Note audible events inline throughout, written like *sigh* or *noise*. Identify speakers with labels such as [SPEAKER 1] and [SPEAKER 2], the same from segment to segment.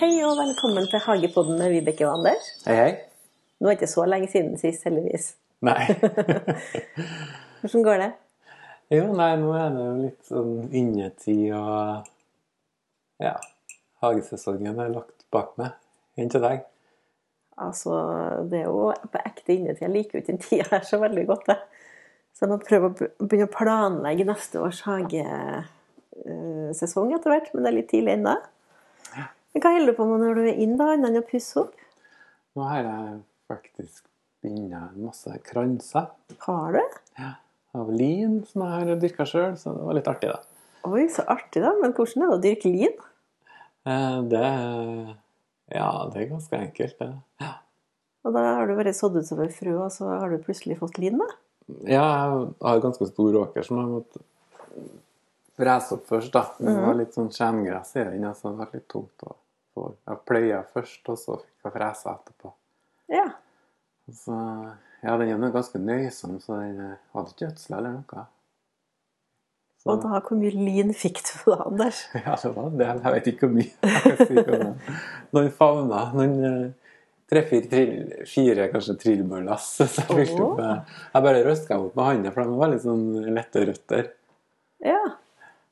[SPEAKER 1] Hei og velkommen til Hagepodden med Vibeke og Anders.
[SPEAKER 2] Hei, hei.
[SPEAKER 1] Nå er det ikke så lenge siden sist, heldigvis.
[SPEAKER 2] Nei. *laughs*
[SPEAKER 1] Hvordan går det?
[SPEAKER 2] Jo, nei, nå er det jo litt sånn innetid og Ja. Hagesesongen er lagt bak meg. Inntil deg.
[SPEAKER 1] Altså, det er jo på ekte innetid. Jeg liker jo ikke den tida her så veldig godt, jeg. Så jeg må prøve å be- begynne å planlegge neste års hagesesong etter hvert, men det er litt tidlig ennå. Men hva holder du på med når du er inn, da, annet enn å pusse opp?
[SPEAKER 2] Nå har jeg faktisk binda en masse kranser
[SPEAKER 1] Har du?
[SPEAKER 2] av lin som jeg har dyrka sjøl, så det var litt artig, da.
[SPEAKER 1] Oi, så artig, da. Men hvordan er det å dyrke lin?
[SPEAKER 2] Eh, Det er- Ja, det er ganske enkelt, det. Ja.
[SPEAKER 1] Og da har du bare sådd ut som en frø, og så har du plutselig fått lin, da?
[SPEAKER 2] Ja, jeg har ganske stor åker som jeg måtte frese opp først, da. Men Det var litt sånn skjemgress i den, så det var litt tungt å få. Jeg pløya først, og så fikk jeg frese etterpå.
[SPEAKER 1] Ja.
[SPEAKER 2] Så, ja, den er nå ganske nøysom, så den eh, hadde ikke gjødsla eller noe. Så,
[SPEAKER 1] Og da, hvor mye lin fikk du da, Anders?
[SPEAKER 2] *laughs* Ja, det var en del. Jeg vet ikke hvor mye. *laughs* jeg kan si om det. Noen favner. Noen eh, tre-fire, kanskje trillbørlass. Så jeg fylte opp, eh, Jeg bare røska dem opp med hånda, for de var litt sånn lette røtter.
[SPEAKER 1] Ja.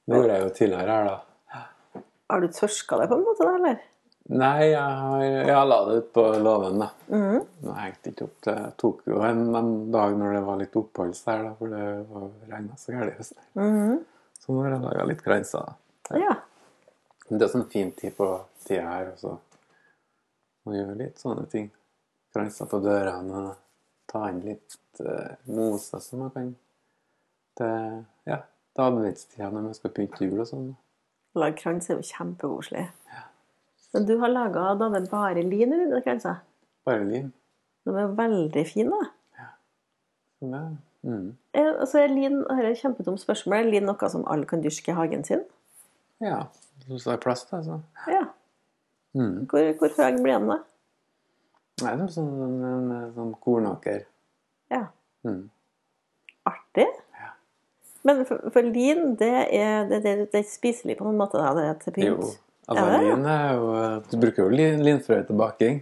[SPEAKER 2] Det gjorde jeg jo tidligere her, da.
[SPEAKER 1] Har du tørska deg på en måte, da, eller?
[SPEAKER 2] Nei, jeg, har, jeg la det ut på låven, da. Det hengte ikke opp. Det tok jo en, en dag når det var litt oppholds der, da, for det regna så gærent i høst. Mm-hmm. Så nå har jeg laga litt grenser. da.
[SPEAKER 1] Ja.
[SPEAKER 2] Men det er sånn fin tid på tida her også. Man gjør litt sånne ting. Grenser på dørene og ta inn litt eh, mose som man kan til ja, til adventstida når man skal pynte jul og sånn.
[SPEAKER 1] Lage krans er jo kjempekoselig. Men du har laga da det er bare lin i dine kranser.
[SPEAKER 2] Bare lin.
[SPEAKER 1] De er veldig fine, da.
[SPEAKER 2] Sånn det. Mm.
[SPEAKER 1] Eh, Altså, er lin, her er et kjempedumt spørsmål. Er lin noe som alle kan dyrke i hagen sin?
[SPEAKER 2] Ja. Så det er plass til altså. det, så.
[SPEAKER 1] Ja.
[SPEAKER 2] Mm.
[SPEAKER 1] Hvor, hvor høy blir den, da?
[SPEAKER 2] Nei, det er sånn, en, en, sånn kornåker.
[SPEAKER 1] Ja.
[SPEAKER 2] Mm.
[SPEAKER 1] Artig. Men for, for lin, det er, det, det, det er spiselig på noen måte, da? Det er til
[SPEAKER 2] Jo.
[SPEAKER 1] pynt?
[SPEAKER 2] Altså,
[SPEAKER 1] Ja, ja.
[SPEAKER 2] lin er jo Du bruker jo lin, linfrø til baking.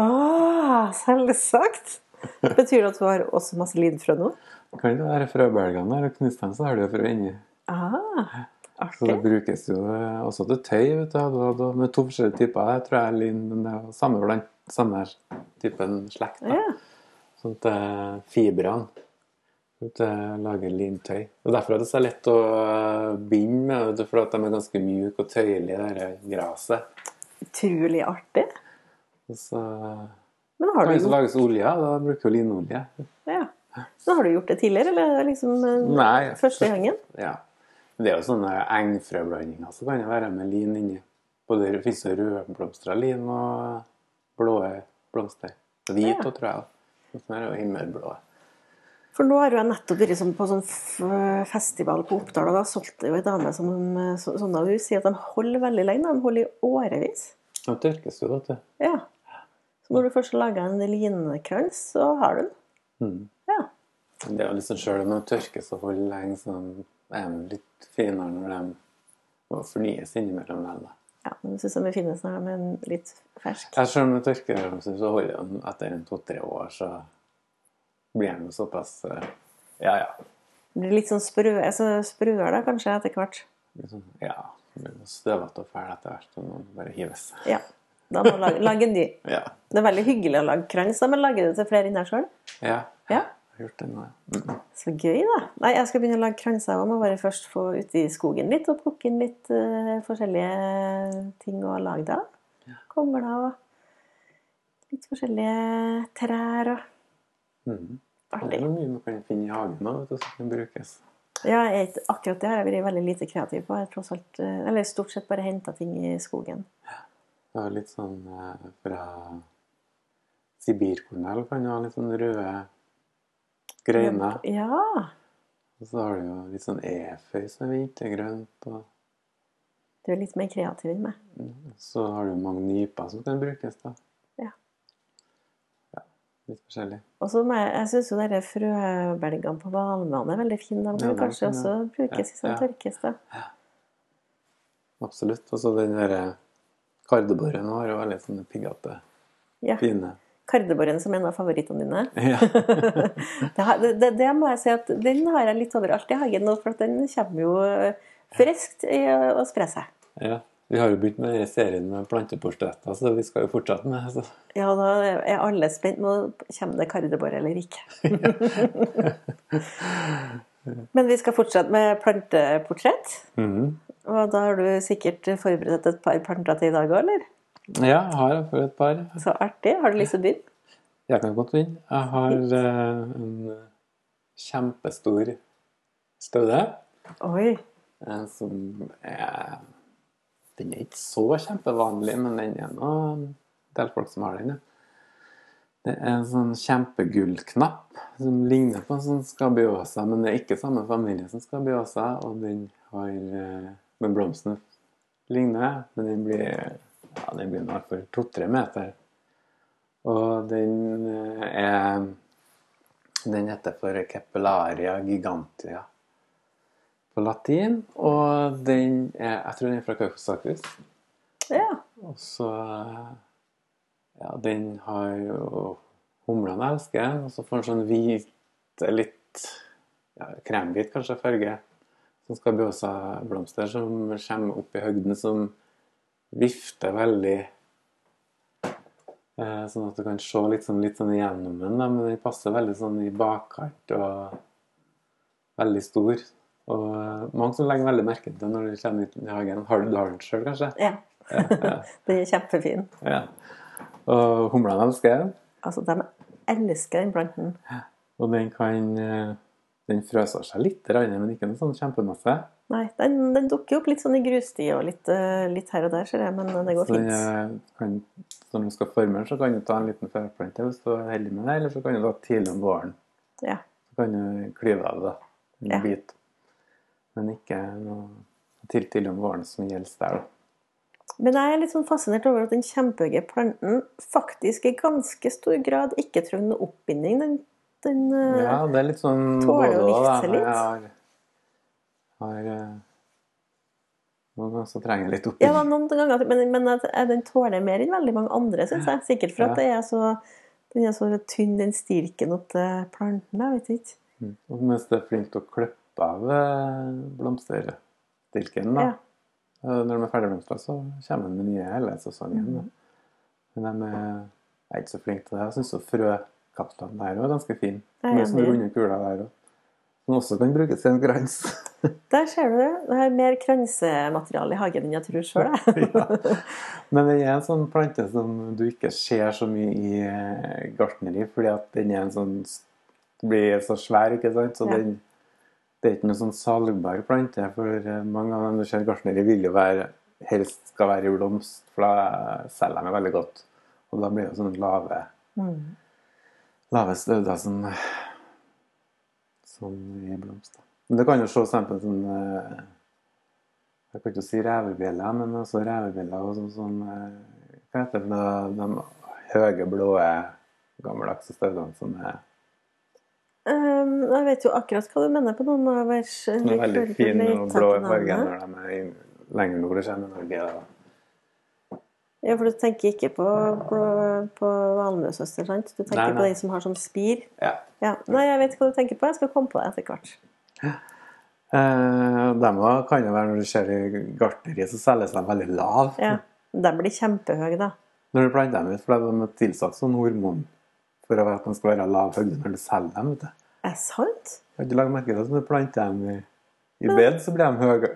[SPEAKER 1] Åh, selvsagt! Betyr det at du har også masse linfrø nå?
[SPEAKER 2] Kan jo være frøbølgene der og knuse dem, så har du jo frø inni.
[SPEAKER 1] Ah,
[SPEAKER 2] Så det
[SPEAKER 1] artig.
[SPEAKER 2] brukes jo eh, også til tøy, vet du. Du hadde med to forskjellige typer. Jeg tror jeg er lin, men det er jo samme blant samme typen slekt. da.
[SPEAKER 1] Ja.
[SPEAKER 2] Sånn at eh, fibrene sånn at jeg lager lintøy. Og derfor er det så lett å eh, binde med, vet du, for at de er ganske mjuke og tøyelige, det der graset.
[SPEAKER 1] Utrolig artig.
[SPEAKER 2] Og så eh,
[SPEAKER 1] Men har
[SPEAKER 2] Kan
[SPEAKER 1] du
[SPEAKER 2] ikke
[SPEAKER 1] gjort,
[SPEAKER 2] lages olje, da bruker jo linolje.
[SPEAKER 1] ja. Men har du gjort det tidligere, eller er det liksom eh,
[SPEAKER 2] Nei.
[SPEAKER 1] første gangen?
[SPEAKER 2] Ja. Det er jo sånne engfrøblandinger som kan det være med lin inni. Både det finnes jo rødblomstra lin og blå blomster. Hvit
[SPEAKER 1] Ja.
[SPEAKER 2] og tror jeg. Og sånn er det jo himmelblå.
[SPEAKER 1] For nå har jo jeg nettopp vært sånn på sånn f- festival på Oppdal, og da solgte jo ei dame som eh, så, sånne av hus sier at de holder veldig lenge. De holder i årevis.
[SPEAKER 2] De tørkes jo, vet du.
[SPEAKER 1] Ja. Så når du først lager en linekrans, så har du den. Ja.
[SPEAKER 2] Det er jo liksom sjøl om de tørkes og holder lenge, så de er de litt finere når de må fornyes innimellom. vel, da.
[SPEAKER 1] ja. Men jeg syns de er fine sånn her, men litt fersk.
[SPEAKER 2] Ja, selv om det tørker dem, så så holder de etter en to-tre år, så blir de jo såpass eh, Ja, ja.
[SPEAKER 1] Blir litt sånn sprø, altså sprøere da, kanskje, etter hvert.
[SPEAKER 2] liksom, ja, det blir noe støvete og fæl etter hvert, og man bare hives.
[SPEAKER 1] Ja. Da må du lage, lage en ny.
[SPEAKER 2] Ja.
[SPEAKER 1] Det er veldig hyggelig å lage krans, da, men lager du til flere enn deg sjøl?
[SPEAKER 2] ja.
[SPEAKER 1] Ja.
[SPEAKER 2] Jeg har gjort det nå, ja. Mm.
[SPEAKER 1] Så gøy, da. Nei, jeg skal begynne å lage kranser. Jeg må bare først få ut i skogen litt og plukke inn litt eh, forskjellige ting å lage det av. Kongler og litt forskjellige trær og
[SPEAKER 2] Mm. Det
[SPEAKER 1] Artig.
[SPEAKER 2] er noe mye man kan finne i hagen òg, som kan brukes.
[SPEAKER 1] Ja, jeg, akkurat det har jeg vært veldig lite kreativ på. Jeg har tross alt, eh, eller stort sett bare henta ting i skogen.
[SPEAKER 2] Det er litt sånn eh, fra Sibirkornell kan jo ha litt sånn røde greiner.
[SPEAKER 1] Ja.
[SPEAKER 2] Og så har du jo litt sånn eføy som er vintergrønt. Og
[SPEAKER 1] Du er litt mer kreativ enn meg.
[SPEAKER 2] så har du mange nyper som kan brukes, da.
[SPEAKER 1] Ja.
[SPEAKER 2] Litt forskjellig.
[SPEAKER 1] Og så må jeg, jeg syns jo disse frøbelgene på valmene er veldig fine. De
[SPEAKER 2] Ja,
[SPEAKER 1] kan
[SPEAKER 2] de
[SPEAKER 1] kanskje
[SPEAKER 2] er fine.
[SPEAKER 1] også brukes i sånn
[SPEAKER 2] Ja.
[SPEAKER 1] tørkes. da.
[SPEAKER 2] Absolutt. Og så den derre kardeborren var jo veldig sånn piggete,
[SPEAKER 1] Ja.
[SPEAKER 2] fine.
[SPEAKER 1] Kardeborren som er en av favorittene dine.
[SPEAKER 2] Ja.
[SPEAKER 1] det, har, det, det må jeg si at Den har jeg litt overalt i hagen nå, for at den kommer jo eh, friskt i å spre seg.
[SPEAKER 2] *laughs* ja. Vi har jo begynt med denne serien med planteportretter, så vi skal jo fortsette med det. så-
[SPEAKER 1] Ja, da er alle spent. Nå kommer det kardebår eller ikke.
[SPEAKER 2] *laughs*
[SPEAKER 1] Men vi skal fortsette med planteportrett.
[SPEAKER 2] Mhm.
[SPEAKER 1] Og da har du sikkert forberedt et par planter til i dag òg, eller?
[SPEAKER 2] Ja, jeg har for et par.
[SPEAKER 1] Så artig. Har du lyst til å begynne?
[SPEAKER 2] Jeg kan godt vinne. Jeg har eh, en kjempestor staude.
[SPEAKER 1] Oi.
[SPEAKER 2] eh, Som er Den er ikke så kjempevanlig, men den er nå en del folk som har den. Ja. Det er en sånn kjempegullknapp som ligner på en sånn skabiosa, men det er ikke samme familie som skabiosa. Og den har eh, Men blomsten ligner, men den blir ja, den blir i hvert fall to-tre meter. Og den eh, er Den heter for Kepelaria gigantia på latin. Og den er Jeg tror den er fra Kaukasakus.
[SPEAKER 1] Ja.
[SPEAKER 2] Og så eh, Ja, den har jo Humlene elsker den. Og så får den sånn hvite, litt ja, kremhvit kanskje farge. Sånn skabiosa-blomster som kommer opp i høgden, som vifter veldig. Eh, Sånn at du kan se litt sånn, litt sånn igjennom den, da, men den passer veldig sånn i bakkant og veldig stor. Og eh, mange som legger veldig merke til det når de kommer ut i hagen. Har du har den sjøl, kanskje?
[SPEAKER 1] ja. *laughs* Den er kjempefin.
[SPEAKER 2] Ja. Og humlene elsker den.
[SPEAKER 1] Altså, de elsker den planten.
[SPEAKER 2] Og den kan eh, Den frøser seg litt, men ikke noe sånn kjempemasse.
[SPEAKER 1] Nei, den, den dukker jo opp litt sånn i grustid og litt, eh, litt her og der, ser jeg, men det går
[SPEAKER 2] Så den,
[SPEAKER 1] fint.
[SPEAKER 2] eh, kan, når du skal forme den, så kan du ta en liten førplante hvis du er heldig med det, eller så kan du ta tidlig om våren.
[SPEAKER 1] Ja.
[SPEAKER 2] Så kan du klyve av det en
[SPEAKER 1] Ja.
[SPEAKER 2] bit. Men ikke noe til tidlig om våren som gjelder der, da.
[SPEAKER 1] Men jeg er litt sånn fascinert over at den kjempehøye planten faktisk i ganske stor grad ikke trenger noe oppbinding. Den, den, eh,
[SPEAKER 2] Ja, det er litt sånn
[SPEAKER 1] Tåler å
[SPEAKER 2] både og, da.
[SPEAKER 1] vifte litt.
[SPEAKER 2] Jeg har, har eh, Noen ganger så trenger jeg litt oppi.
[SPEAKER 1] ja, da, noen ganger, men, men at- eh, den tåler mer enn veldig mange andre, syns jeg. Sikkert for at det er så, den er så tynn, den stilken opp til planten. Jeg vet ikke.
[SPEAKER 2] Mm. Og mens det er flink til å klippe av eh, blomsterstilken, da.
[SPEAKER 1] Ja.
[SPEAKER 2] Eh, Når de er ferdigblomstra, så kommer de med nye hele sesongen.
[SPEAKER 1] Mm.
[SPEAKER 2] da. Men de er, er ikke så flinke til det. Jeg syns frøkapslene der òg er ganske fine.
[SPEAKER 1] Jeg er
[SPEAKER 2] Med sånne
[SPEAKER 1] enig.
[SPEAKER 2] runde kuler der òg. Som også kan brukes til en krans. *laughs*
[SPEAKER 1] Der ser du det. Det er mer kransemateriale i hagen enn jeg tror sjøl, jeg.
[SPEAKER 2] *laughs* Ja. Men det er en sånn plante som du ikke ser så mye i eh, gartneri, fordi at den er en sånn blir så svær, ikke sant? Så
[SPEAKER 1] Ja.
[SPEAKER 2] den, det er ikke noen sånn salgbar plante, for eh, mange av dem du ser i gartneri vil jo være, helst skal være i blomst, for da selger de jo veldig godt. Og da blir det jo sånne lave,
[SPEAKER 1] *laughs* Mm.
[SPEAKER 2] lave støvder som, som i blomst. da. Men det kan jo se for eksempel sånn, eh, jeg kan ikke si revebjeller, men også revebjeller og sånn, sånn eh, hva heter det, for de høye, blå, gammeldagse støvdene som er
[SPEAKER 1] Um, jeg vet jo akkurat hva du mener på noen av vers.
[SPEAKER 2] Den er veldig fin og blå i fargen når de er i- lenger nord. Det kommer i Norge. Da.
[SPEAKER 1] Ja, for du tenker ikke på, på, på valmuesøster, sant? Du tenker
[SPEAKER 2] Nei,
[SPEAKER 1] på
[SPEAKER 2] nei.
[SPEAKER 1] den som har som spir.
[SPEAKER 2] Ja.
[SPEAKER 1] Ja. Nei, jeg vet hva du tenker på. Jeg skal komme på det etter hvert.
[SPEAKER 2] Eh, og dem også kan jo være når du ser i gartneriet, så selges de veldig lav.
[SPEAKER 1] Ja. De blir kjempehøye, da.
[SPEAKER 2] Når du planter dem ut, for de er tilsatt sånn hormon for å være at de skal være lav høyde når du selger dem. Vet du.
[SPEAKER 1] Er det sant?
[SPEAKER 2] Har ikke lagt merke til at når du planter dem i, i bed, så blir de høye,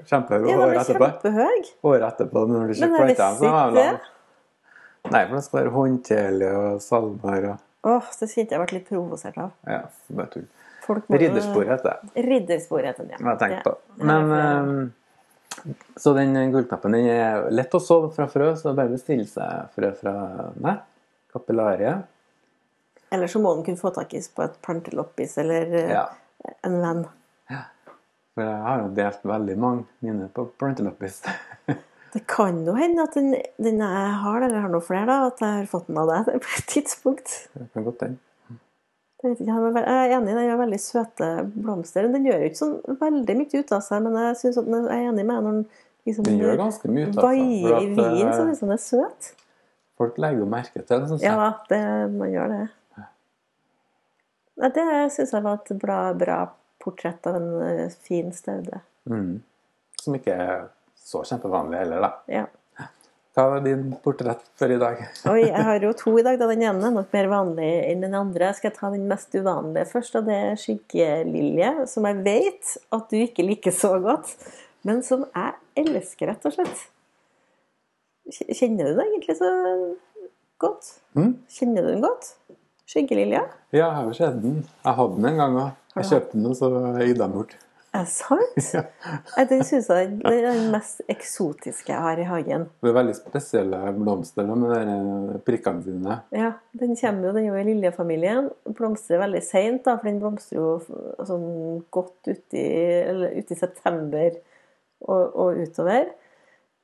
[SPEAKER 1] Ja,
[SPEAKER 2] kjempehøye
[SPEAKER 1] de
[SPEAKER 2] året
[SPEAKER 1] blir
[SPEAKER 2] etterpå.
[SPEAKER 1] kjempehøye.
[SPEAKER 2] Året etterpå, når
[SPEAKER 1] Men
[SPEAKER 2] du ikke
[SPEAKER 1] jeg
[SPEAKER 2] planter
[SPEAKER 1] visste
[SPEAKER 2] dem, så er de
[SPEAKER 1] ikke det.
[SPEAKER 2] lave. Nei, for de skal være håndterlige og salmer og
[SPEAKER 1] Åh, det kjente jeg ble litt provosert av.
[SPEAKER 2] Ja, så bare tull.
[SPEAKER 1] Folk må-
[SPEAKER 2] Ridderspor heter det.
[SPEAKER 1] Ridderspor heter den, ja.
[SPEAKER 2] har jeg tenkt på.
[SPEAKER 1] Ja.
[SPEAKER 2] Men,
[SPEAKER 1] Herfra.
[SPEAKER 2] eh, så den gullknappen den er lett å så fra frø, så det er bare å bestille seg frø fra Nei, kapillarie.
[SPEAKER 1] Eller så må den kunne få tak i på et planteloppis eller eh,
[SPEAKER 2] Ja.
[SPEAKER 1] en venn.
[SPEAKER 2] For jeg har jo delt veldig mange mine på *laughs* planteloppis.
[SPEAKER 1] Det kan jo hende at *laughs* den, den jeg har, eller jeg har noen flere, da, at jeg har fått den av deg på et tidspunkt.
[SPEAKER 2] Det kan godt hende.
[SPEAKER 1] Jeg vet ikke, han er vel- jeg er enig, den gjør veldig søte blomster. Den gjør jo ikke sånn veldig mye ut av seg, men jeg, synes at den, jeg er enig med deg når den liksom
[SPEAKER 2] Den gjør ganske mye ut av seg.
[SPEAKER 1] vaier
[SPEAKER 2] for
[SPEAKER 1] i
[SPEAKER 2] at,
[SPEAKER 1] vien, så
[SPEAKER 2] eh,
[SPEAKER 1] syns jeg den er søt.
[SPEAKER 2] Folk legger jo merke til den. Sånn,
[SPEAKER 1] Ja, det, man gjør det. Nei, det syns jeg var et bra, bra portrett av en eh, fin staude.
[SPEAKER 2] mm. Som ikke er så kjempevanlig heller, da.
[SPEAKER 1] Ja.
[SPEAKER 2] Hva var din portrett for i dag?
[SPEAKER 1] Oi, jeg har jo to i dag. da Den ene er nok mer vanlig enn den andre. Jeg skal ta den mest uvanlige først, og det er skyggelilje, som jeg vet at du ikke liker så godt, men som jeg elsker, rett og slett. Kj- Kjenner du den egentlig så godt?
[SPEAKER 2] Mm?
[SPEAKER 1] Kjenner du den godt? Skyggelilja?
[SPEAKER 2] Ja, jeg har jo sett den. Jeg hadde den en gang òg. Jeg
[SPEAKER 1] Har du
[SPEAKER 2] kjøpte den, og så ydde den bort.
[SPEAKER 1] Er det sant?
[SPEAKER 2] *laughs* Ja.
[SPEAKER 1] Nei, Den syns jeg er den er den mest eksotiske jeg har i hagen.
[SPEAKER 2] Det er veldig spesielle blomster da, med de der eh, prikkene sine.
[SPEAKER 1] Ja, den kommer jo, den er jo i liljefamilien. Blomstrer veldig seint, da, for den blomstrer jo f- sånn godt uti, eller uti september og, og utover.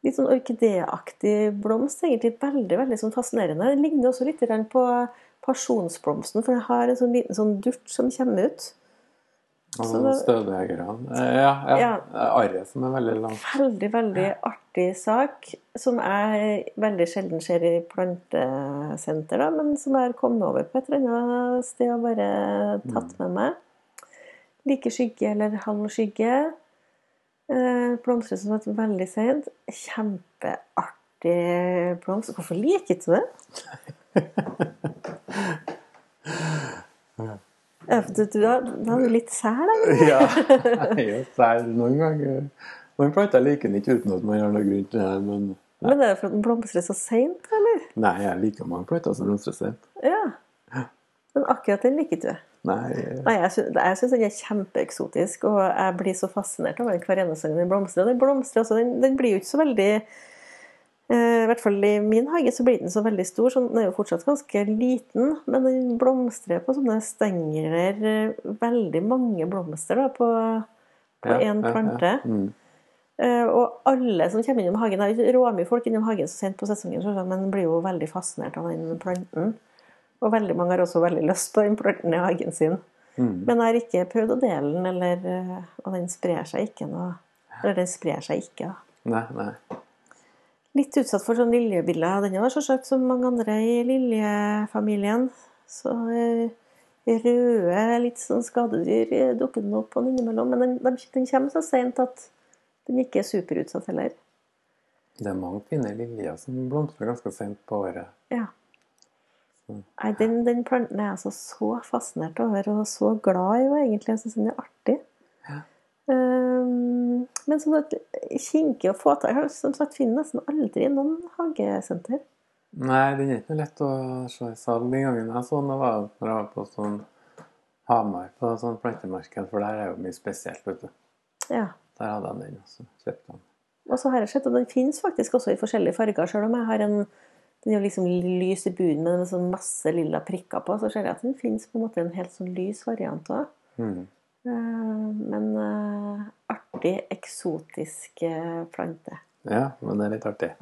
[SPEAKER 1] Litt sånn orkideaktig blomst, egentlig veldig veldig sånn fascinerende. Den ligner også litt grann på pasjonsblomsten, for den har en sånn liten sånn durt som kommer ut.
[SPEAKER 2] Og
[SPEAKER 1] Så det-
[SPEAKER 2] støvjegerne. Eh, Ja, ja.
[SPEAKER 1] Ja.
[SPEAKER 2] Arret som er veldig langt.
[SPEAKER 1] Veldig, veldig artig sak, som jeg veldig sjelden ser i plantesenter, da, men som jeg har kommet over på et eller annet sted og bare tatt med meg. Like skygge eller halv skygge. Eh, Blomstrer som sagt veldig sent. Kjempeartig blomst. Hvorfor liker ikke du det? Ja, for Du, du, er- du er jo litt sær, da. men-
[SPEAKER 2] Ja, *laughs* jeg er jo sær noen ganger. Noen planter liker den ikke uten at man har noen grunn til det. Men
[SPEAKER 1] Men det er fordi den blomstrer så seint, eller?
[SPEAKER 2] nei, jeg liker mange planter som blomstrer sent.
[SPEAKER 1] Ja. Men akkurat den liker du.
[SPEAKER 2] Nei,
[SPEAKER 1] Nei, jeg syns, jeg syns den er kjempeeksotisk, og jeg blir så fascinert over den hver eneste gang den blomstrer. Og Den blomstrer også, den, den blir jo ikke så veldig eh, I hvert fall i min hage så blir den så veldig stor, så den er jo fortsatt ganske liten. Men den blomstrer på sånne stengler, eh, veldig mange blomster da, på, på
[SPEAKER 2] Ja,
[SPEAKER 1] én
[SPEAKER 2] ja, ja.
[SPEAKER 1] plante.
[SPEAKER 2] Mm.
[SPEAKER 1] Eh, Og alle som kommer innom hagen, det er jo råmye folk innom hagen så sent på sesongen, selvsagt, men blir jo veldig fascinert av den planten. Og veldig mange har også veldig lyst på den planten i hagen sin.
[SPEAKER 2] Mm.
[SPEAKER 1] Men jeg har ikke prøvd å dele den, eller, eh, og den sprer seg ikke noe. Eller den sprer seg ikke, da.
[SPEAKER 2] nei, nei.
[SPEAKER 1] Litt utsatt for sånn liljebiller. Den var selvsagt som mange andre i liljefamilien. Så eh, røde, litt sånn skadedyr eh, dukker den opp på innimellom. Men den, den, den kommer så seint at den ikke er superutsatt heller.
[SPEAKER 2] Det er mange fine liljer som blomstrer ganske sent på året.
[SPEAKER 1] Ja. Nei, den, den planten er jeg altså så fascinert over og så glad i, og egentlig jeg syns den er artig. Ehm, men som sagt, kinkig å få tak i. Jeg har Som sagt, finner nesten aldri noen hagesenter.
[SPEAKER 2] Nei, den er ikke noe lett å se i salg. Den gangen jeg så den, det var når jeg var på sånn Hamar, på sånn plantemarked, for der er jo mye spesielt, vet du.
[SPEAKER 1] Ja.
[SPEAKER 2] Der hadde jeg den også. Kjøpte den.
[SPEAKER 1] Og så har jeg sett at den finnes faktisk også i forskjellige farger, selv om jeg har en den er jo liksom lys i bunnen med en sånn masse lilla prikker på, så ser jeg at den finnes på en måte i en helt sånn lys variant òg.
[SPEAKER 2] Mm.
[SPEAKER 1] Men eh, artig, eksotisk eh, plante.
[SPEAKER 2] Ja, men det er litt artig.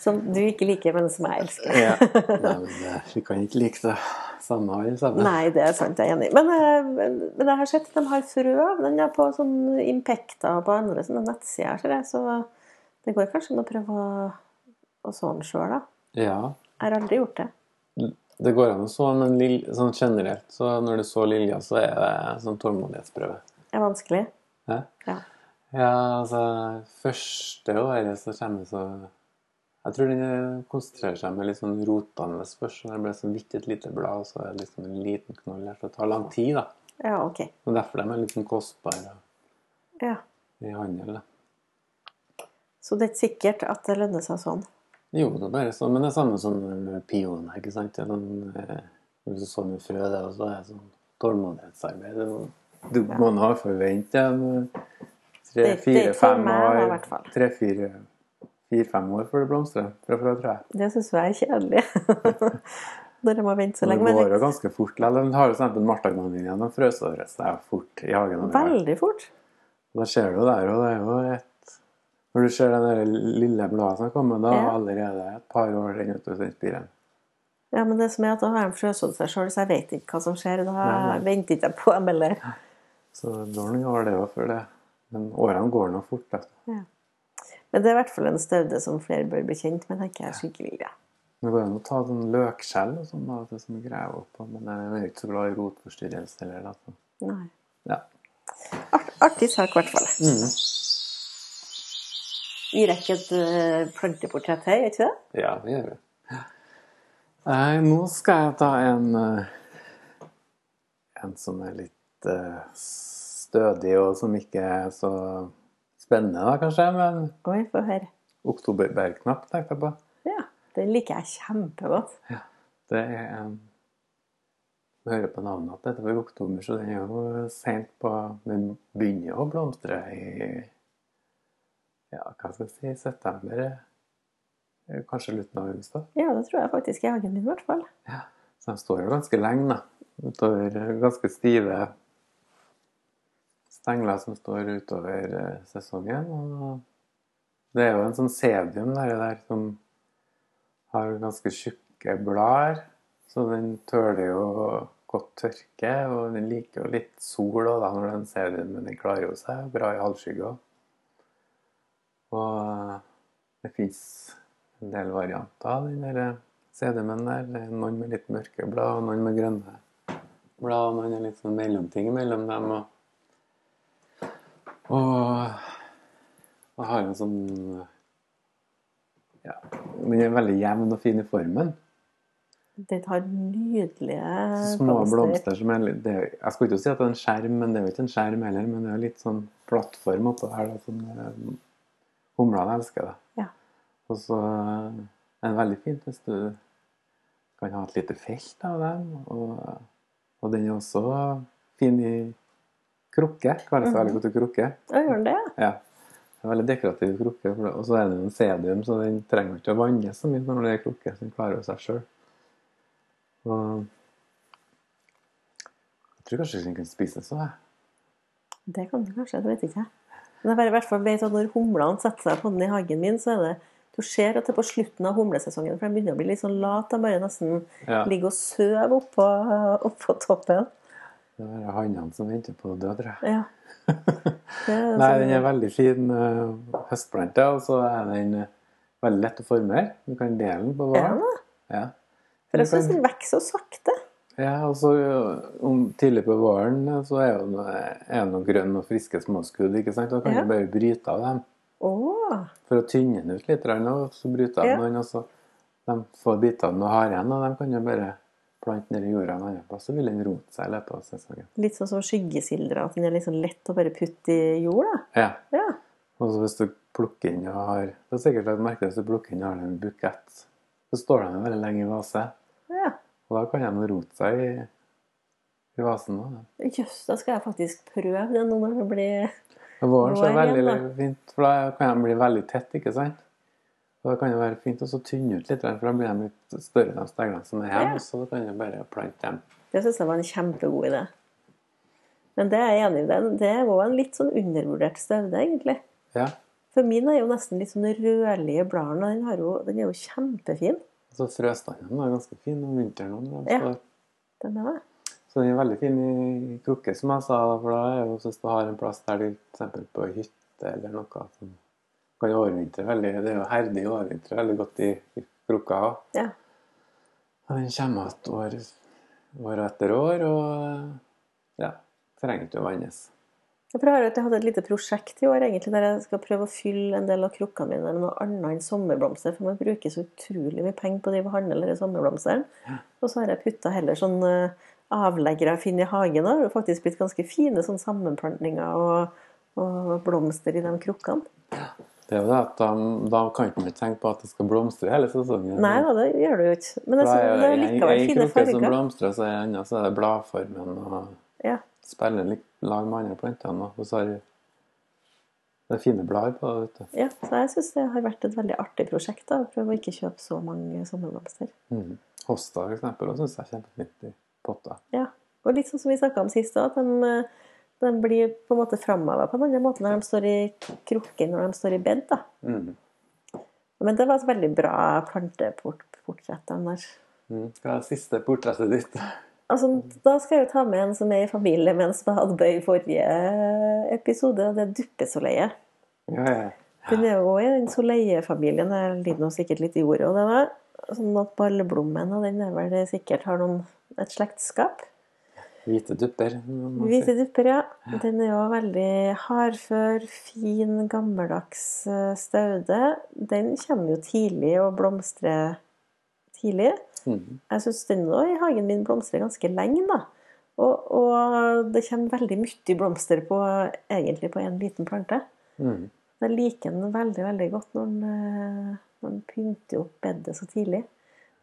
[SPEAKER 1] Som du ikke liker, men som jeg elsker.
[SPEAKER 2] Ja. *laughs* Nei, men det, vi kan ikke like det samme alle sammen.
[SPEAKER 1] Nei, det er sant, jeg er enig. Men, eh, men men jeg har sett at de har frø. Den er på sånn Impekta og på andre sånne nettsider, ser jeg. Så det går kanskje an å prøve å, å så den sjøl, da.
[SPEAKER 2] Ja,
[SPEAKER 1] Jeg har aldri gjort det.
[SPEAKER 2] Det går an å så, men lil, sånn generelt så når du så lilja, så er det en sånn tålmodighetsprøve.
[SPEAKER 1] Det er vanskelig.
[SPEAKER 2] Ja,
[SPEAKER 1] Ja.
[SPEAKER 2] ja altså Første året så kommer så Jeg tror den eh, konsentrerer seg med litt sånn rotende først. så Det blir så vidt et lite blad, og så er det liksom en liten knoll her. Så det tar lang tid, da.
[SPEAKER 1] Ja, OK.
[SPEAKER 2] Og derfor de er litt sånn kostbare
[SPEAKER 1] Ja.
[SPEAKER 2] i handel. da.
[SPEAKER 1] Så det er ikke sikkert at det lønner seg sånn.
[SPEAKER 2] Jo, det er bare sånn, men det er samme som med pioner, ikke sant? Det er sånn, eh, hvis du så mye frø, det er også er sånn tålmodighetsarbeid. Det er jo- Du må nå forvente en eh,
[SPEAKER 1] Det- det er ikke for
[SPEAKER 2] tre-fire-fem
[SPEAKER 1] meg, da, i
[SPEAKER 2] år,
[SPEAKER 1] hvert fall.
[SPEAKER 2] tre, fire, fire-fem år før det blomstrer fra frø, tror jeg.
[SPEAKER 1] Det syns jeg er kjedelig. *laughs* Når jeg må vente så
[SPEAKER 2] Men
[SPEAKER 1] lenge.
[SPEAKER 2] det går
[SPEAKER 1] Men
[SPEAKER 2] jo ganske fort. likevel. Den har jo for eksempel Martha-granvinjen, den frøsåret seg fort i
[SPEAKER 1] det
[SPEAKER 2] hagen. når
[SPEAKER 1] er
[SPEAKER 2] det var.
[SPEAKER 1] veldig fort.
[SPEAKER 2] Da ser du jo der, og det er jo et Når du ser den der lille bladet som kommer, da er
[SPEAKER 1] Ja.
[SPEAKER 2] allerede et par år den ute hos den spiren.
[SPEAKER 1] Ja, men det som er at da har de sjøsådd seg sjøl, så jeg vet ikke hva som skjer. Da venter ikke jeg på dem heller.
[SPEAKER 2] Så Dorning var det òg før det. Men årene går nå fort. vet du.
[SPEAKER 1] Men det er i hvert fall en staude som flere bør bli kjent med, tenker jeg skikkelig. Ja.
[SPEAKER 2] Det går an å ta sånn løkskjell og sånn, da, vet du, som graver opp, og- men jeg er ikke så glad i rotforstyrrelse heller. da, så.
[SPEAKER 1] Nei.
[SPEAKER 2] Ja.
[SPEAKER 1] Art, artig sak, i hvert fall.
[SPEAKER 2] Mm.
[SPEAKER 1] Vi rekker et eh, planteportrett her, er ikke det?
[SPEAKER 2] Ja, det gjør vi. Eh, nå skal jeg ta en eh, En som er litt eh, stødig, og som ikke er så spennende, da, kanskje. Men
[SPEAKER 1] Oi, få høre.
[SPEAKER 2] oktoberbergknapp tenkte jeg på.
[SPEAKER 1] Ja. Den liker jeg kjempegodt.
[SPEAKER 2] Det er en Du hører på navnet at dette var oktober, så den er jo sent på Den begynner jo å blomstre i Ja, hva skal jeg si September? eh, Kanskje slutten av august, da.
[SPEAKER 1] Ja, det tror jeg faktisk i hagen min, i hvert fall.
[SPEAKER 2] Så de står jo ganske lenge, da. Utover ganske stive stengler som står utover eh, sesongen. Og det er jo en sånn sedium der, der som har ganske tjukke blader. Så den tøler jo godt tørke, og den liker jo litt sol også, da, når den sedium, men den klarer jo seg bra i halvskygge òg. Og eh, det fins en del varianter av den der eh, CD-en der. Det er Noen med litt mørke blad, og noen med grønne blad. og Noen er litt sånn mellomting mellom dem. Og, og jeg har en sånn Ja, den er veldig jevn og fin i formen.
[SPEAKER 1] Den har nydelige
[SPEAKER 2] Så Små blomster som er litt det, er- Jeg skulle ikke si at det er en skjerm, men det er jo ikke en skjerm heller. Men det er jo litt sånn plattform oppå her. Da, som eh, humlene elsker. Da.
[SPEAKER 1] Ja.
[SPEAKER 2] Og så eh, er det veldig fint hvis du kan ha et lite felt av dem. Og, og den er også fin i krukke. Klarer seg veldig godt i krukke.
[SPEAKER 1] Å, gjør den det? ja?
[SPEAKER 2] Ja. Det er veldig dekorativ krukke. for det- Og så er det jo en sedium, så den trenger ikke å vanne så mye når det er krukke. Så den klarer jo seg sjøl. Og jeg tror kanskje ikke den kan spises òg, jeg.
[SPEAKER 1] Det kan den kanskje, det vet ikke jeg. Men jeg bare i hvert fall vet at når humlene setter seg på den i hagen min, så er det du ser at det er på slutten av humlesesongen, for de begynner å bli litt sånn lat. De bare nesten
[SPEAKER 2] Ja.
[SPEAKER 1] ligger og sover oppå, oppå toppen.
[SPEAKER 2] Det er bare hannene som venter på å dø, tror jeg.
[SPEAKER 1] Ja.
[SPEAKER 2] *laughs*
[SPEAKER 1] Det er
[SPEAKER 2] Nei,
[SPEAKER 1] sånn-
[SPEAKER 2] den er veldig fin eh, høstplante, og så er den eh, veldig lett å forme. Du kan dele den på
[SPEAKER 1] Ja,
[SPEAKER 2] varen.
[SPEAKER 1] da.
[SPEAKER 2] Ja.
[SPEAKER 1] for jeg
[SPEAKER 2] Du kan-
[SPEAKER 1] syns den vokser så sakte.
[SPEAKER 2] Ja, og så ø, om tidlig på våren ø, så er jo er noen grønne og friske småskudd, ikke sant? Da kan
[SPEAKER 1] Ja.
[SPEAKER 2] du bare bryte av dem.
[SPEAKER 1] Å!
[SPEAKER 2] For å tynne den ut litt, grann, og så bryter jeg
[SPEAKER 1] Ja.
[SPEAKER 2] av noen, og så de får bitene med har igjen, og de kan jo bare plante ned i jorda en annen plass, så vil den rote seg i løpet av sesongen.
[SPEAKER 1] Litt sånn som skyggesildra, at den er litt sånn lett å bare putte i jord. da.
[SPEAKER 2] Ja,
[SPEAKER 1] Ja.
[SPEAKER 2] og så hvis du plukker inn og har, det er sikkert et merke hvis du plukker inn og har en bukett, så står den jo veldig lenge i vase,
[SPEAKER 1] ja.
[SPEAKER 2] og da kan de rote seg i, i vasen også. da.
[SPEAKER 1] Jøss, da skal jeg faktisk prøve det nå når det blir
[SPEAKER 2] Men våren så er det
[SPEAKER 1] Våren,
[SPEAKER 2] veldig
[SPEAKER 1] da.
[SPEAKER 2] fint, for da kan de bli veldig tett, ikke sant? Og da kan det være fint å så tynne ut litt, grann, for da blir de litt større de steglene som er
[SPEAKER 1] Ja.
[SPEAKER 2] hjemme, og så kan du bare plante dem.
[SPEAKER 1] Det syns jeg var en kjempegod idé. Men det er jeg enig i. den- Det er òg en litt sånn undervurdert staude, egentlig.
[SPEAKER 2] Ja,
[SPEAKER 1] For min er jo nesten litt sånn rødlige bladene. Den, har jo- den er jo kjempefin.
[SPEAKER 2] og så frøstanden er ganske fin om vinteren. også, når de
[SPEAKER 1] Ja.
[SPEAKER 2] står.
[SPEAKER 1] Den er det.
[SPEAKER 2] Så den er veldig fin i krukke, som jeg sa, for da er jo hvis du har en plass der du for eksempel på hytte eller noe, som kan overvintre veldig, det er jo herdig å overvintre veldig godt i, i krukka også.
[SPEAKER 1] Ja.
[SPEAKER 2] Og den kommer igjen år, år etter år, og ja, trenger ikke å vannes.
[SPEAKER 1] Jeg prøver at jeg hadde et lite prosjekt i år egentlig, der jeg skal prøve å fylle en del av krukkene mine med noe annet enn sommerblomster. For man bruker så utrolig mye penger på å drive og handle med de sommerblomstene. Og så har jeg putta heller sånn eh, avleggere jeg finner i hagen. da. Det har faktisk blitt ganske fine sånn sammenplantninger og, og blomster i de krukkene.
[SPEAKER 2] Det er jo det at da, da kan man ikke tenke på at det skal blomstre hele sesongen.
[SPEAKER 1] Nei da, det gjør det jo ikke. Men
[SPEAKER 2] Da
[SPEAKER 1] altså,
[SPEAKER 2] er
[SPEAKER 1] det er
[SPEAKER 2] jo
[SPEAKER 1] likevel
[SPEAKER 2] en- en
[SPEAKER 1] fine
[SPEAKER 2] krukke som
[SPEAKER 1] farger.
[SPEAKER 2] blomstrer, så er en annen, så er det bladformen og
[SPEAKER 1] Ja.
[SPEAKER 2] spiller litt lag med andre plantene. Og så har det er fine blader på det, vet du.
[SPEAKER 1] Ja, så jeg syns det har vært et veldig artig prosjekt. da, å Prøve å ikke kjøpe så mange sommerblomster.
[SPEAKER 2] Mm. Hosta for eksempel, og synes jeg er kjempefint i potta.
[SPEAKER 1] Ja, og litt sånn som vi snakket om sist også, at de, eh, de blir på en måte framheva på en annen måte når de står i krukke, når de står i bed.
[SPEAKER 2] Mm.
[SPEAKER 1] da. Men det var et veldig bra planteportrett. den der.
[SPEAKER 2] Mm. Hva er det siste
[SPEAKER 1] *laughs*
[SPEAKER 2] portrettet ditt?
[SPEAKER 1] Altså, da skal jeg jo ta med en som er i familie med en som jeg hadde med i forrige episode, og det er duppesoleiet.
[SPEAKER 2] Ja, ja.
[SPEAKER 1] Den er jo i den soleiefamilien. Der ligger nå sikkert litt i ordet. og det der. Sånn at ballblommen og den er vel sikkert har noen, et slektskap.
[SPEAKER 2] Hvite dupper. må man si.
[SPEAKER 1] Hvite dupper, ja. Den er jo veldig hardfør, fin, gammeldags eh, staude. Den kommer jo tidlig og blomstrer tidlig.
[SPEAKER 2] Mm.
[SPEAKER 1] Jeg syns den nå i hagen min blomstrer ganske lenge, da. Og, og det kommer veldig mye blomster på, egentlig på én liten plante.
[SPEAKER 2] Mm.
[SPEAKER 1] Jeg liker den veldig veldig godt når den, eh, når den pynter opp bedet så tidlig.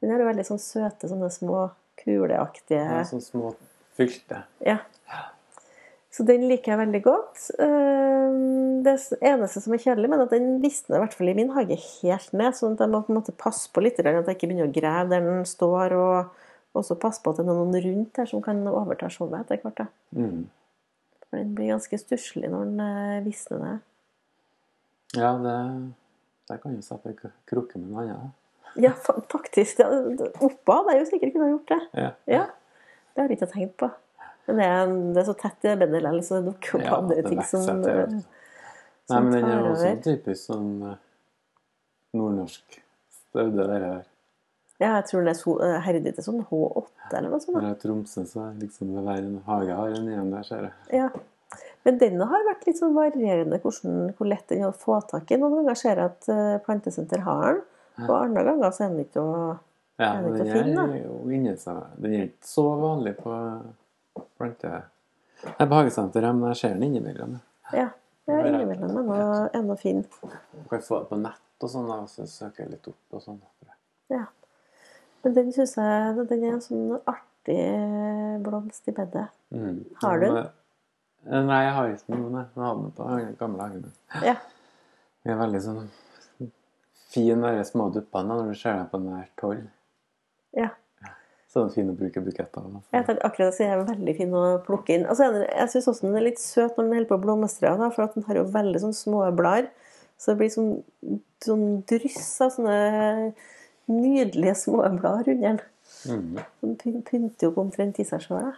[SPEAKER 1] Den har jo veldig sånn søte, sånne små
[SPEAKER 2] Ja,
[SPEAKER 1] kuleaktige
[SPEAKER 2] sånn små fylte.
[SPEAKER 1] ja. Så den liker jeg veldig godt. Eh, Det eneste som er kjedelig, men at den visner i hvert fall i min hage helt ned. Sånn at jeg må på en måte passe på litt, at jeg ikke begynner å grave der den står. Og også passe på at det er noen rundt her som kan overta showet etter hvert. da.
[SPEAKER 2] Mm.
[SPEAKER 1] For den blir ganske stusslig når den eh, visner ned.
[SPEAKER 2] Ja, det Der kan du sette k- krukke med noe annet.
[SPEAKER 1] Ja, fa- faktisk. Ja, det- Oppå hadde jeg jo sikkert kunnet gjort det.
[SPEAKER 2] Ja.
[SPEAKER 1] Ja, Det har jeg ikke tenkt på. Men det er, det er så tett i det bedet likevel, så det dukker opp
[SPEAKER 2] Ja,
[SPEAKER 1] andre
[SPEAKER 2] det
[SPEAKER 1] ting
[SPEAKER 2] vokser
[SPEAKER 1] som
[SPEAKER 2] til,
[SPEAKER 1] eh,
[SPEAKER 2] altså. Nei,
[SPEAKER 1] som
[SPEAKER 2] men den er
[SPEAKER 1] tar
[SPEAKER 2] jo også
[SPEAKER 1] over.
[SPEAKER 2] typisk sånn eh, nordnorsk staude, det der.
[SPEAKER 1] Ja, jeg tror den er so herdet til sånn H8 eller noe sånt.
[SPEAKER 2] Når det er Tromsø, så er liksom det hver en hage har en igjen der, ser jeg.
[SPEAKER 1] da. Ja. Men den har vært litt sånn varierende hvordan, hvor lett den er å få tak i. Noen ganger ser jeg at eh, plantesenter har den, og andre ganger så er den ikke å
[SPEAKER 2] Ja,
[SPEAKER 1] Er
[SPEAKER 2] men
[SPEAKER 1] det
[SPEAKER 2] den
[SPEAKER 1] ikke fin,
[SPEAKER 2] er
[SPEAKER 1] da?
[SPEAKER 2] jo inni seg. Den er ikke så vanlig på plante... Nei, på hagesenter, ja, men jeg ser den innimellom. ja.
[SPEAKER 1] Ja, ja innimellom er noe- er noe fin.
[SPEAKER 2] Du kan få det på nett og sånn, da, så søker jeg litt opp og sånn. tror jeg.
[SPEAKER 1] Ja. Men den syns jeg den er en sånn artig blomst i bedet.
[SPEAKER 2] Mm.
[SPEAKER 1] Har du
[SPEAKER 2] Men, eh, Nei, jeg har ikke noen. jeg. Jeg hadde den på den gamle hagen. min.
[SPEAKER 1] Ja.
[SPEAKER 2] Den er veldig sånn fin, de små duppene, når du ser dem på nært hold.
[SPEAKER 1] ja.
[SPEAKER 2] Så er den fin å bruke buketter sånn. av.
[SPEAKER 1] Jeg tenkte akkurat å si den er veldig fin å plukke inn. Altså, jeg- jeg syns også den er litt søt når den holder på å blomstre, da, for at den har jo veldig sånn små blader. Så det blir sånn, sånn dryss av sånne nydelige små blader under den.
[SPEAKER 2] Mm.
[SPEAKER 1] Den py- pynter jo på omtrent i seg sjøl.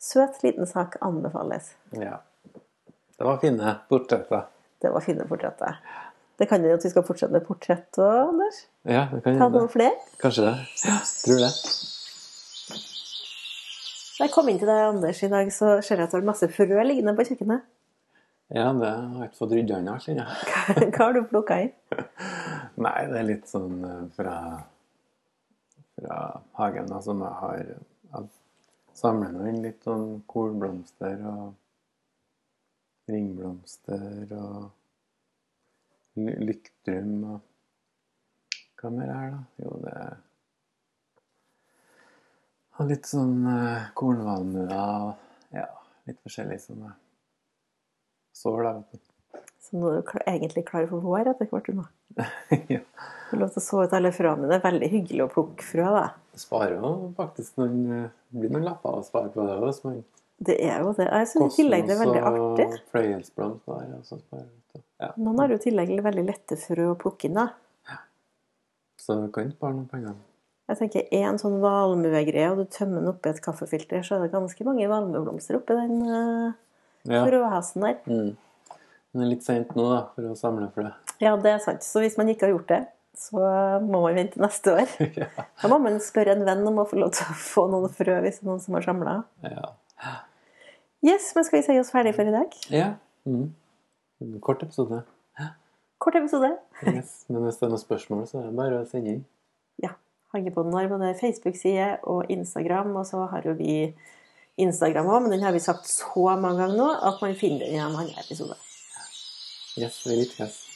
[SPEAKER 1] Søt liten sak anbefales.
[SPEAKER 2] Ja. Det var fine portretter.
[SPEAKER 1] Det var fine portretter. Det kan hende at vi skal fortsette med portrett òg, Anders.
[SPEAKER 2] Ja, det kan
[SPEAKER 1] Ta
[SPEAKER 2] gjøre
[SPEAKER 1] noen
[SPEAKER 2] det.
[SPEAKER 1] flere.
[SPEAKER 2] Kanskje det. Tror det.
[SPEAKER 1] Da jeg kom inn til deg, Anders, i dag, så ser jeg at du har masse frø liggende på kjøkkenet. *laughs*
[SPEAKER 2] Ja, det har jeg ikke fått rydda unna, kjenner jeg.
[SPEAKER 1] Hva har du plukka inn?
[SPEAKER 2] Nei, det er litt sånn eh, fra, fra hagen da, som jeg har jeg samler nå inn litt sånn kornblomster og ringblomster og ly- lyktrum og Hva mer er det? her, da? Jo, det er og litt sånn eh, kornvalmuer og ja, litt forskjellig som jeg sår, da, vet du.
[SPEAKER 1] Så nå er du kla- egentlig klar for vår etter hvert. du nå.
[SPEAKER 2] *laughs* ja.
[SPEAKER 1] Du lov til å så ut alle frøene mine. Veldig hyggelig å plukke frø, da.
[SPEAKER 2] sparer jo faktisk noen eh, Det blir noen lapper å spare på det òg. Som en
[SPEAKER 1] Det er jo det. Jeg syns i tillegg det er veldig artig.
[SPEAKER 2] og fløyelsblomst der. Og så sparer du det. ja.
[SPEAKER 1] Noen har jo i tillegg veldig lette frø å plukke inn, da.
[SPEAKER 2] Så du kan spare noen penger.
[SPEAKER 1] Jeg tenker én sånn valmuegreie, og du tømmer den oppi et kaffefilter, så er det ganske mange valmueblomster oppi den uh,
[SPEAKER 2] Ja.
[SPEAKER 1] frøhesen der.
[SPEAKER 2] Mm. Men det er litt seint nå da, for å samle for det.
[SPEAKER 1] Ja, det er sant. Så hvis man ikke har gjort det, så må man vente neste år.
[SPEAKER 2] *laughs* ja.
[SPEAKER 1] Da må man spørre en venn om å få lov til å få noen frø, hvis det er noen som har samla.
[SPEAKER 2] ja.
[SPEAKER 1] Yes, men skal vi si oss ferdig for i dag?
[SPEAKER 2] ja. Mm. En Kort episode.
[SPEAKER 1] Kort episode.
[SPEAKER 2] Yes. Men hvis det er noen spørsmål, så er det bare å sende inn.
[SPEAKER 1] ja, Hagepodden har både Facebook-side og Instagram, og så har jo vi Instagram òg, men den har vi sagt så mange ganger nå at man finner den i en annen episode.
[SPEAKER 2] Yes, vi lyttes.